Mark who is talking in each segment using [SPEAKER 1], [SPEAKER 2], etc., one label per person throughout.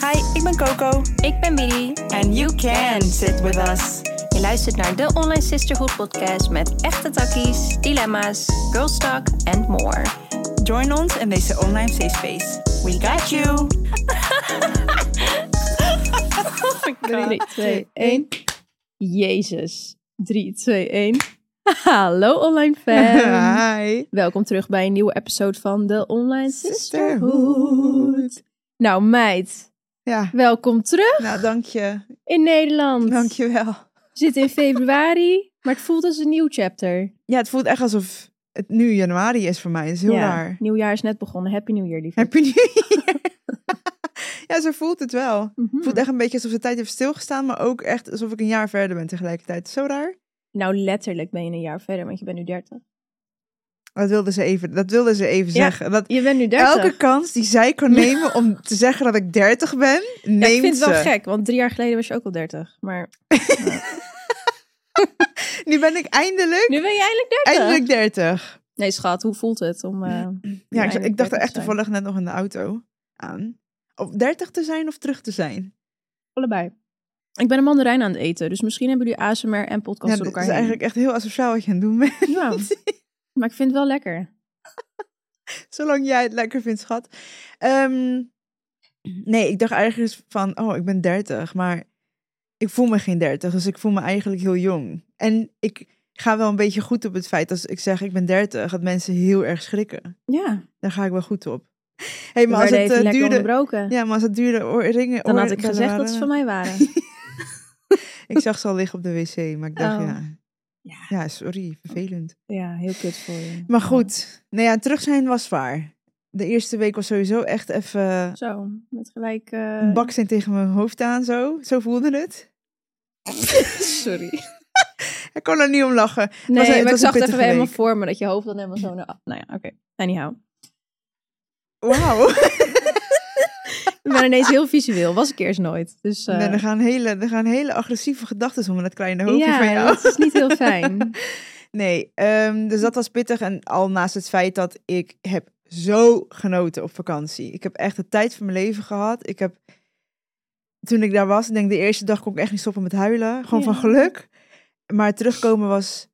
[SPEAKER 1] Hi, ik ben Coco.
[SPEAKER 2] Ik ben Midi.
[SPEAKER 1] And you can sit with us.
[SPEAKER 2] Je luistert naar de Online Sisterhood podcast met echte takkies, dilemma's, girl talk and more.
[SPEAKER 1] Join ons in deze online safe space. We got you.
[SPEAKER 3] 3, 2, 1. Jezus. 3, 2, 1. Hallo online fam.
[SPEAKER 1] Hi.
[SPEAKER 3] Welkom terug bij een nieuwe episode van de Online Sisterhood. Nou meid,
[SPEAKER 1] Ja,
[SPEAKER 3] welkom terug
[SPEAKER 1] nou dank je.
[SPEAKER 3] in Nederland.
[SPEAKER 1] Dank je wel.
[SPEAKER 3] We zitten in februari, maar het voelt als een nieuw chapter.
[SPEAKER 1] Ja, het voelt echt alsof het nu januari is voor mij. Dat is heel
[SPEAKER 3] Ja,
[SPEAKER 1] raar.
[SPEAKER 3] Nieuwjaar is net begonnen. Happy New Year, lieve.
[SPEAKER 1] Heb je niet? ja, zo voelt het wel. Het
[SPEAKER 3] Mhm.
[SPEAKER 1] voelt echt een beetje alsof de tijd heeft stilgestaan, maar ook echt alsof ik een jaar verder ben tegelijkertijd. Zo raar.
[SPEAKER 3] Nou, letterlijk ben je een jaar verder, want je bent nu 30.
[SPEAKER 1] Dat wilden ze even, dat wilden ze even
[SPEAKER 3] Ja.
[SPEAKER 1] zeggen. Dat
[SPEAKER 3] Je bent nu 30.
[SPEAKER 1] elke kans die zij kan nemen om te zeggen dat ik 30 ben, neemt
[SPEAKER 3] Ja, ik vind
[SPEAKER 1] ze.
[SPEAKER 3] het wel gek, want drie jaar geleden was je ook al 30. Maar
[SPEAKER 1] Nu ben ik eindelijk,
[SPEAKER 3] nu ben je eindelijk 30.
[SPEAKER 1] eindelijk 30.
[SPEAKER 3] Nee, schat, hoe voelt het om... eh,
[SPEAKER 1] Ja, ik,
[SPEAKER 3] eindelijk
[SPEAKER 1] ik dacht
[SPEAKER 3] 30
[SPEAKER 1] er
[SPEAKER 3] zijn.
[SPEAKER 1] echt toevallig net nog in de auto aan. Of 30 te zijn of terug te zijn.
[SPEAKER 3] Allebei. Ik ben een mandarijn aan het eten, dus misschien hebben jullie ASMR en podcast
[SPEAKER 1] Ja,
[SPEAKER 3] door
[SPEAKER 1] dat
[SPEAKER 3] elkaar
[SPEAKER 1] is
[SPEAKER 3] heen.
[SPEAKER 1] eigenlijk echt heel asociaal wat je aan het doen bent.
[SPEAKER 3] Ja, maar ik vind het wel lekker.
[SPEAKER 1] Zolang jij het lekker vindt, schat. Ehm, nee, ik dacht eigenlijk eens van, oh, ik ben 30, maar ik voel me geen 30, dus ik voel me eigenlijk heel jong. En ik ga wel een beetje goed op het feit als ik zeg ik ben 30, dat mensen heel erg schrikken.
[SPEAKER 3] Ja,
[SPEAKER 1] Daar ga ik wel goed op. Hey,
[SPEAKER 3] we
[SPEAKER 1] maar als
[SPEAKER 3] werden
[SPEAKER 1] het
[SPEAKER 3] even
[SPEAKER 1] eh,
[SPEAKER 3] lekker
[SPEAKER 1] duurde,
[SPEAKER 3] onderbroken.
[SPEAKER 1] ja, maar als het duurde oorringen,
[SPEAKER 3] Dan had ik
[SPEAKER 1] oorbellen
[SPEAKER 3] gezegd
[SPEAKER 1] waren-
[SPEAKER 3] dat ze van mij waren.
[SPEAKER 1] Ik zag ze al liggen op de wc, maar ik dacht
[SPEAKER 3] Oh.
[SPEAKER 1] ja.
[SPEAKER 3] Ja.
[SPEAKER 1] Ja, sorry, vervelend.
[SPEAKER 3] ja, heel kut voor je.
[SPEAKER 1] Maar goed, nou ja, terug zijn was zwaar. De eerste week was sowieso echt even
[SPEAKER 3] Zo, met gelijk... eh,
[SPEAKER 1] een baksteen tegen mijn hoofd aan, zo. Zo voelde het.
[SPEAKER 3] Sorry.
[SPEAKER 1] Ik kon er niet om lachen.
[SPEAKER 3] Nee,
[SPEAKER 1] het
[SPEAKER 3] maar
[SPEAKER 1] was
[SPEAKER 3] ik
[SPEAKER 1] een
[SPEAKER 3] zag het even
[SPEAKER 1] pittige
[SPEAKER 3] helemaal
[SPEAKER 1] week.
[SPEAKER 3] voor me, dat je hoofd dan helemaal zo naar... Nou ja, oké. Anyhow.
[SPEAKER 1] Wauw.
[SPEAKER 3] Ik ben ineens heel visueel, was ik eerst nooit. Dus, eh,
[SPEAKER 1] Nee, er, gaan hele, er gaan hele agressieve gedachten om in dat kleine hoofdje van
[SPEAKER 3] ja,
[SPEAKER 1] jou.
[SPEAKER 3] dat is niet heel fijn.
[SPEAKER 1] Nee, ehm, dus dat was pittig. En al naast het feit dat ik heb zo genoten op vakantie. Ik heb echt de tijd van mijn leven gehad. Ik heb, toen ik daar was, ik denk de eerste dag kon ik echt niet stoppen met huilen. Gewoon van
[SPEAKER 3] Ja.
[SPEAKER 1] geluk. Maar terugkomen was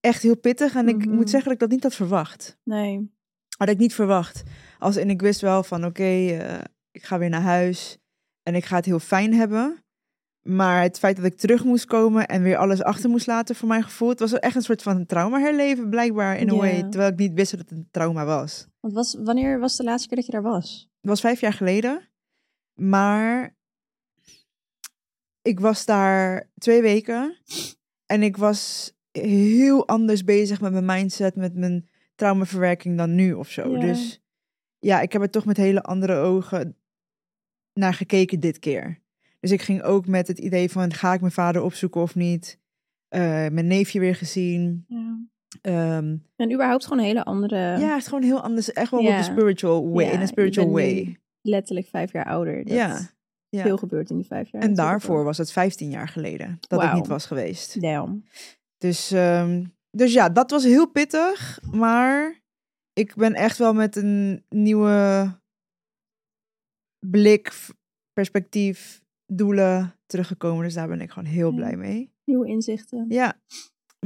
[SPEAKER 1] echt heel pittig. En ik
[SPEAKER 3] Mhm.
[SPEAKER 1] moet zeggen dat ik dat niet had verwacht.
[SPEAKER 3] Nee.
[SPEAKER 1] Had ik niet verwacht. Als in ik wist wel van oké, eh, ik ga weer naar huis. En ik ga het heel fijn hebben. Maar het feit dat ik terug moest komen en weer alles achter moest laten voor mijn gevoel. Het was wel echt een soort van een trauma herleven blijkbaar in een
[SPEAKER 3] Ja.
[SPEAKER 1] way. Terwijl ik niet wist dat het een trauma was.
[SPEAKER 3] Want was, wanneer was de laatste keer dat je daar was?
[SPEAKER 1] Het was vijf jaar geleden. Maar ik was daar twee weken. En ik was heel anders bezig met mijn mindset, met mijn traumaverwerking dan nu of zo.
[SPEAKER 3] Ja.
[SPEAKER 1] Dus ja, ik heb er toch met hele andere ogen naar gekeken dit keer. Dus ik ging ook met het idee van, ga ik mijn vader opzoeken of niet? Eh, mijn neefje weer gezien.
[SPEAKER 3] Ja.
[SPEAKER 1] Ehm,
[SPEAKER 3] En überhaupt gewoon een hele andere,
[SPEAKER 1] ja, het is gewoon heel anders. Echt wel op
[SPEAKER 3] Ja.
[SPEAKER 1] een spiritual way.
[SPEAKER 3] Ja,
[SPEAKER 1] in een
[SPEAKER 3] je
[SPEAKER 1] spiritual
[SPEAKER 3] bent nu-
[SPEAKER 1] way.
[SPEAKER 3] letterlijk vijf jaar ouder. Dat
[SPEAKER 1] Ja, ja.
[SPEAKER 3] Veel gebeurt in die vijf jaar.
[SPEAKER 1] En
[SPEAKER 3] natuurlijk
[SPEAKER 1] daarvoor
[SPEAKER 3] ook.
[SPEAKER 1] was het 15 jaar geleden dat ik
[SPEAKER 3] Wauw.
[SPEAKER 1] niet was geweest.
[SPEAKER 3] Damn.
[SPEAKER 1] Dus, ehm, dus ja, dat was heel pittig. Maar ik ben echt wel met een nieuwe blik, v- perspectief, doelen teruggekomen. Dus daar ben ik gewoon heel
[SPEAKER 3] Ja.
[SPEAKER 1] blij mee.
[SPEAKER 3] Nieuwe inzichten.
[SPEAKER 1] Ja.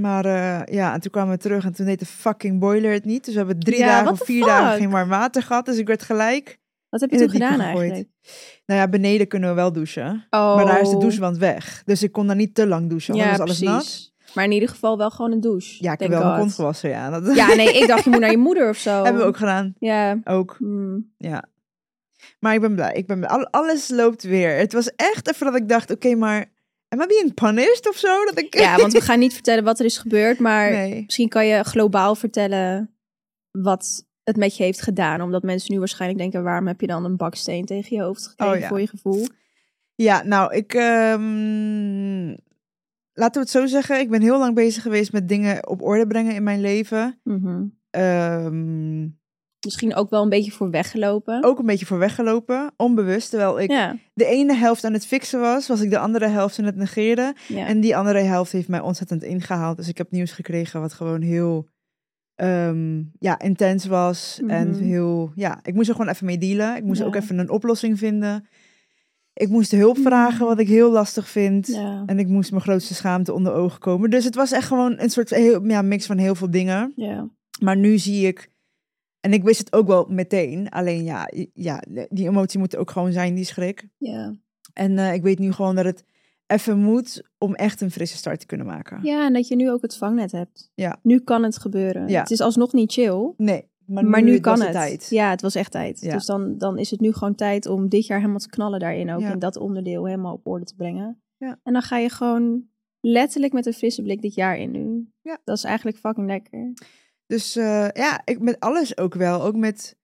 [SPEAKER 1] Maar eh, ja, en toen kwamen we terug en toen deed de fucking boiler het niet. Dus we hebben drie
[SPEAKER 3] Ja,
[SPEAKER 1] dagen
[SPEAKER 3] what
[SPEAKER 1] of
[SPEAKER 3] the
[SPEAKER 1] vier dagen
[SPEAKER 3] fuck?
[SPEAKER 1] geen warm water gehad. Dus ik werd gelijk.
[SPEAKER 3] Wat heb je
[SPEAKER 1] In
[SPEAKER 3] toen
[SPEAKER 1] het diepe
[SPEAKER 3] gedaan
[SPEAKER 1] gegooid.
[SPEAKER 3] eigenlijk?
[SPEAKER 1] Nou ja, beneden kunnen we wel douchen.
[SPEAKER 3] Oh.
[SPEAKER 1] Maar daar is de douchewand weg. Dus ik kon daar niet te lang douchen, want
[SPEAKER 3] Ja,
[SPEAKER 1] dan was alles nat.
[SPEAKER 3] precies. Maar in ieder geval wel gewoon een douche.
[SPEAKER 1] Ja, ik
[SPEAKER 3] Thank
[SPEAKER 1] heb wel mijn
[SPEAKER 3] God.
[SPEAKER 1] kont gewassen, ja. Dat
[SPEAKER 3] Ja, oh. nee, ik dacht je moet naar je moeder of zo.
[SPEAKER 1] hebben we ook gedaan.
[SPEAKER 3] Ja.
[SPEAKER 1] Ook,
[SPEAKER 3] Hmm.
[SPEAKER 1] ja. Maar ik ben blij. Ik ben blij. Al- Alles loopt weer. Het was echt even dat ik dacht, oké, maar... Am I being punished of zo? Dat ik...
[SPEAKER 3] Ja, want we gaan niet vertellen wat er is gebeurd, maar
[SPEAKER 1] Nee.
[SPEAKER 3] misschien kan je globaal vertellen wat het met je heeft gedaan. Omdat mensen nu waarschijnlijk denken, waarom heb je dan een baksteen tegen je hoofd gekregen
[SPEAKER 1] Oh, ja.
[SPEAKER 3] voor je gevoel?
[SPEAKER 1] Ja, nou, ik... ehm, Laten we het zo zeggen. Ik ben heel lang bezig geweest met dingen op orde brengen in mijn leven.
[SPEAKER 3] Mhm.
[SPEAKER 1] Ehm,
[SPEAKER 3] Misschien ook wel een beetje voor weggelopen.
[SPEAKER 1] ook een beetje voor weggelopen. Onbewust. Terwijl Oh, ik
[SPEAKER 3] Ja.
[SPEAKER 1] de ene helft aan het fixen was, was ik de andere helft aan het negeren.
[SPEAKER 3] ja.
[SPEAKER 1] En die andere helft heeft mij ontzettend ingehaald. Dus ik heb nieuws gekregen wat gewoon heel ehm, ja, intens was. En
[SPEAKER 3] Mhm.
[SPEAKER 1] heel, ja, ik moest er gewoon even mee dealen. Ik moest
[SPEAKER 3] Ja.
[SPEAKER 1] ook even een oplossing vinden. Ik moest hulp vragen, wat ik heel lastig vind.
[SPEAKER 3] Mhm. Ja.
[SPEAKER 1] En ik moest mijn grootste schaamte onder ogen komen. Dus het was echt gewoon een soort heel, ja, mix van heel veel dingen.
[SPEAKER 3] ja.
[SPEAKER 1] Maar nu zie ik, en ik wist het ook wel meteen. Alleen ja, ja die emotie moet er ook gewoon zijn, die schrik.
[SPEAKER 3] Ja.
[SPEAKER 1] En eh, ik weet nu gewoon dat het even moet om echt een frisse start te kunnen maken.
[SPEAKER 3] ja, en dat je nu ook het vangnet hebt.
[SPEAKER 1] Ja.
[SPEAKER 3] Nu kan het gebeuren.
[SPEAKER 1] Ja.
[SPEAKER 3] Het is alsnog niet chill,
[SPEAKER 1] Nee, maar,
[SPEAKER 3] maar, nu, kan
[SPEAKER 1] was
[SPEAKER 3] het.
[SPEAKER 1] tijd.
[SPEAKER 3] Ja, het was echt tijd.
[SPEAKER 1] Ja.
[SPEAKER 3] Dus dan, dan is het nu gewoon tijd om dit jaar helemaal te knallen daarin ook.
[SPEAKER 1] Ja.
[SPEAKER 3] En dat onderdeel helemaal op orde te brengen.
[SPEAKER 1] Ja.
[SPEAKER 3] En dan ga je gewoon letterlijk met een frisse blik dit jaar in nu.
[SPEAKER 1] Ja.
[SPEAKER 3] Dat is eigenlijk fucking lekker.
[SPEAKER 1] Dus eh, ja, ik met alles ook wel. Ook met,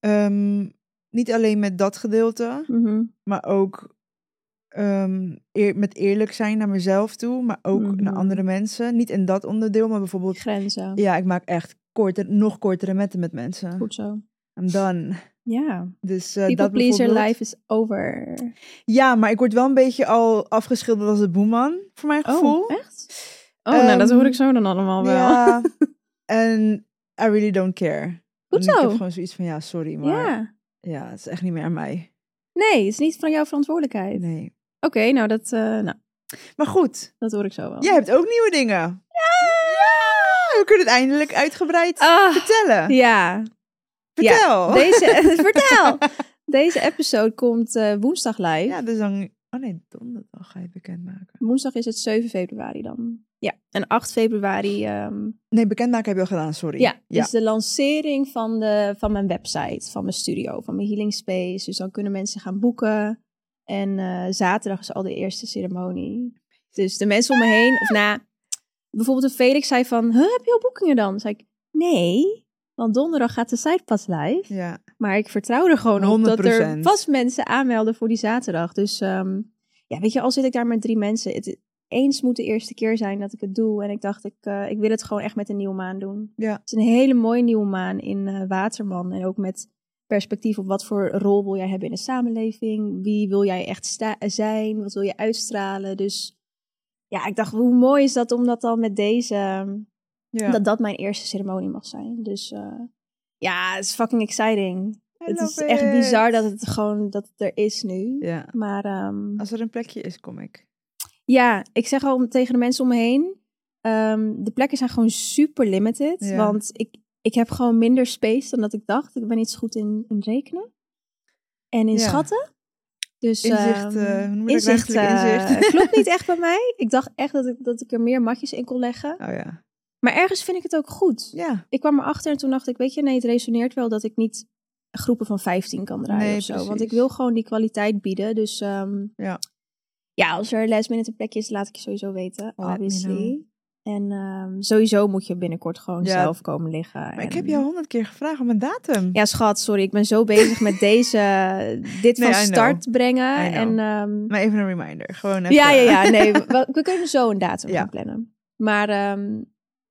[SPEAKER 1] ehm, niet alleen met dat gedeelte,
[SPEAKER 3] Mhm.
[SPEAKER 1] maar ook ehm, eer- met eerlijk zijn naar mezelf toe, maar ook naar
[SPEAKER 3] Mhm.
[SPEAKER 1] andere mensen. Niet in dat onderdeel, maar bijvoorbeeld,
[SPEAKER 3] Grenzen.
[SPEAKER 1] ja, ik maak echt korter, nog kortere metten met mensen.
[SPEAKER 3] Goed zo.
[SPEAKER 1] En dan,
[SPEAKER 3] Ja.
[SPEAKER 1] dus eh,
[SPEAKER 3] People
[SPEAKER 1] dat
[SPEAKER 3] pleaser
[SPEAKER 1] bijvoorbeeld.
[SPEAKER 3] life is over.
[SPEAKER 1] Ja, maar ik word wel een beetje al afgeschilderd als het boeman, voor mijn
[SPEAKER 3] Oh,
[SPEAKER 1] gevoel.
[SPEAKER 3] echt? Oh, nou dat
[SPEAKER 1] Ehm,
[SPEAKER 3] hoor ik zo dan allemaal Oh, wel.
[SPEAKER 1] Ja. en I really don't care.
[SPEAKER 3] Goed
[SPEAKER 1] En Ik
[SPEAKER 3] zo.
[SPEAKER 1] heb gewoon zoiets van, ja, sorry, maar ja.
[SPEAKER 3] Ja.
[SPEAKER 1] het is echt niet meer aan mij.
[SPEAKER 3] Nee, het is niet van jouw verantwoordelijkheid.
[SPEAKER 1] Nee.
[SPEAKER 3] Oké, nou, dat, eh, nou
[SPEAKER 1] Maar goed,
[SPEAKER 3] dat hoor ik zo wel.
[SPEAKER 1] jij hebt ook nieuwe dingen. Ja! We kunnen het eindelijk uitgebreid
[SPEAKER 3] Ah,
[SPEAKER 1] vertellen.
[SPEAKER 3] ja.
[SPEAKER 1] Vertel. Ja,
[SPEAKER 3] Deze, vertel! Deze episode komt eh, woensdag live.
[SPEAKER 1] dus dan... Oh nee, donderdag ga je bekendmaken.
[SPEAKER 3] Woensdag is het 7 februari dan. Ja, en 8 februari ehm,
[SPEAKER 1] Nee, bekendmaken heb je al gedaan, sorry.
[SPEAKER 3] ja, dus
[SPEAKER 1] ja.
[SPEAKER 3] is de lancering van, de, van mijn website, van mijn studio, van mijn healing space. Dus dan kunnen mensen gaan boeken. En eh, zaterdag is al de eerste ceremonie. Dus de mensen om me heen, of na... Bijvoorbeeld een Felix zei van, huh, heb je al boekingen dan? Zei ik, nee, want donderdag gaat de site pas live.
[SPEAKER 1] Ja.
[SPEAKER 3] Maar ik vertrouw er gewoon op dat er
[SPEAKER 1] 100%.
[SPEAKER 3] vast mensen aanmelden voor die zaterdag. Dus ehm, ja, weet je, al zit ik daar met drie mensen. Het, eens moet de eerste keer zijn dat ik het doe. En ik dacht, ik, eh, ik wil het gewoon echt met een nieuwe maan doen.
[SPEAKER 1] Ja.
[SPEAKER 3] Het is een hele mooie nieuwe maan in eh, Waterman. En ook met perspectief op wat voor rol wil jij hebben in de samenleving. Wie wil jij echt sta- zijn? Wat wil je uitstralen? Dus ja, ik dacht, hoe mooi is dat om dat dan met deze... ehm,
[SPEAKER 1] ja.
[SPEAKER 3] Dat dat mijn eerste ceremonie mag zijn. Dus eh, ja, het is fucking exciting.
[SPEAKER 1] I
[SPEAKER 3] Het is
[SPEAKER 1] love
[SPEAKER 3] echt
[SPEAKER 1] it.
[SPEAKER 3] bizar dat het gewoon dat het er is nu.
[SPEAKER 1] Ja.
[SPEAKER 3] Maar ehm,
[SPEAKER 1] Als er een plekje is, kom ik.
[SPEAKER 3] ja, ik zeg al tegen de mensen om me heen. ehm, de plekken zijn gewoon super limited.
[SPEAKER 1] Ja.
[SPEAKER 3] Want ik, ik heb gewoon minder space dan dat ik dacht. Ik ben niet zo goed in, in rekenen. En in
[SPEAKER 1] Ja.
[SPEAKER 3] schatten. Dus,
[SPEAKER 1] Inzicht,
[SPEAKER 3] ehm,
[SPEAKER 1] eh, hoe noem je dat?
[SPEAKER 3] inzicht,
[SPEAKER 1] Ruimtelijk
[SPEAKER 3] eh,
[SPEAKER 1] inzicht.
[SPEAKER 3] klopt niet echt bij mij. Ik dacht echt dat ik, dat ik er meer matjes in kon leggen.
[SPEAKER 1] Oh ja.
[SPEAKER 3] Maar ergens vind ik het ook goed
[SPEAKER 1] Ja.
[SPEAKER 3] ik kwam erachter en toen dacht ik, weet je, nee, het resoneert wel dat ik niet groepen van 15 kan draaien
[SPEAKER 1] Nee,
[SPEAKER 3] of zo. Want ik
[SPEAKER 1] precies.
[SPEAKER 3] wil gewoon die kwaliteit bieden. Dus ehm,
[SPEAKER 1] Ja.
[SPEAKER 3] ja, als er last minute een plekje is, laat ik je sowieso weten.
[SPEAKER 1] me
[SPEAKER 3] Obviously. En ehm, sowieso moet je binnenkort gewoon
[SPEAKER 1] Ja.
[SPEAKER 3] zelf komen liggen.
[SPEAKER 1] Maar ik
[SPEAKER 3] en-
[SPEAKER 1] heb je al honderd keer gevraagd om een datum.
[SPEAKER 3] Ja, schat, sorry, ik ben zo bezig met deze, dit
[SPEAKER 1] Nee, I
[SPEAKER 3] van
[SPEAKER 1] know.
[SPEAKER 3] start brengen.
[SPEAKER 1] I know.
[SPEAKER 3] En ehm,
[SPEAKER 1] Maar even een reminder. Gewoon even. eh,
[SPEAKER 3] ja, ja, ja. Nee, we, we kunnen zo een datum
[SPEAKER 1] Ja.
[SPEAKER 3] gaan plannen. Maar ehm,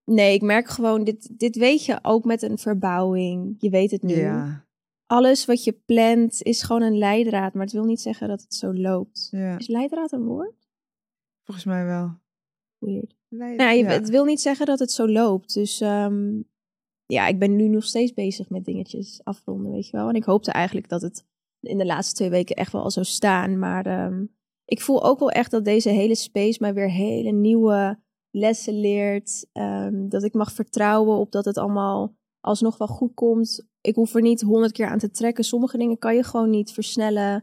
[SPEAKER 3] nee, ik merk gewoon, dit, dit weet je ook met een verbouwing. Je weet het nu.
[SPEAKER 1] Ja.
[SPEAKER 3] Alles wat je plant is gewoon een leidraad. Maar het wil niet zeggen dat het zo loopt.
[SPEAKER 1] ja.
[SPEAKER 3] Is leidraad een woord?
[SPEAKER 1] Volgens mij wel.
[SPEAKER 3] Weird.
[SPEAKER 1] Nee,
[SPEAKER 3] Nou, je,
[SPEAKER 1] ja.
[SPEAKER 3] het wil niet zeggen dat het zo loopt. Dus ehm, ja, ik ben nu nog steeds bezig met dingetjes afronden, weet je wel. En ik hoopte eigenlijk dat het in de laatste twee weken echt wel al zou staan. Maar ehm, ik voel ook wel echt dat deze hele space mij weer hele nieuwe lessen leert. Ehm, dat ik mag vertrouwen op dat het allemaal alsnog wel goed komt. Ik hoef er niet honderd keer aan te trekken. Sommige dingen kan je gewoon niet versnellen.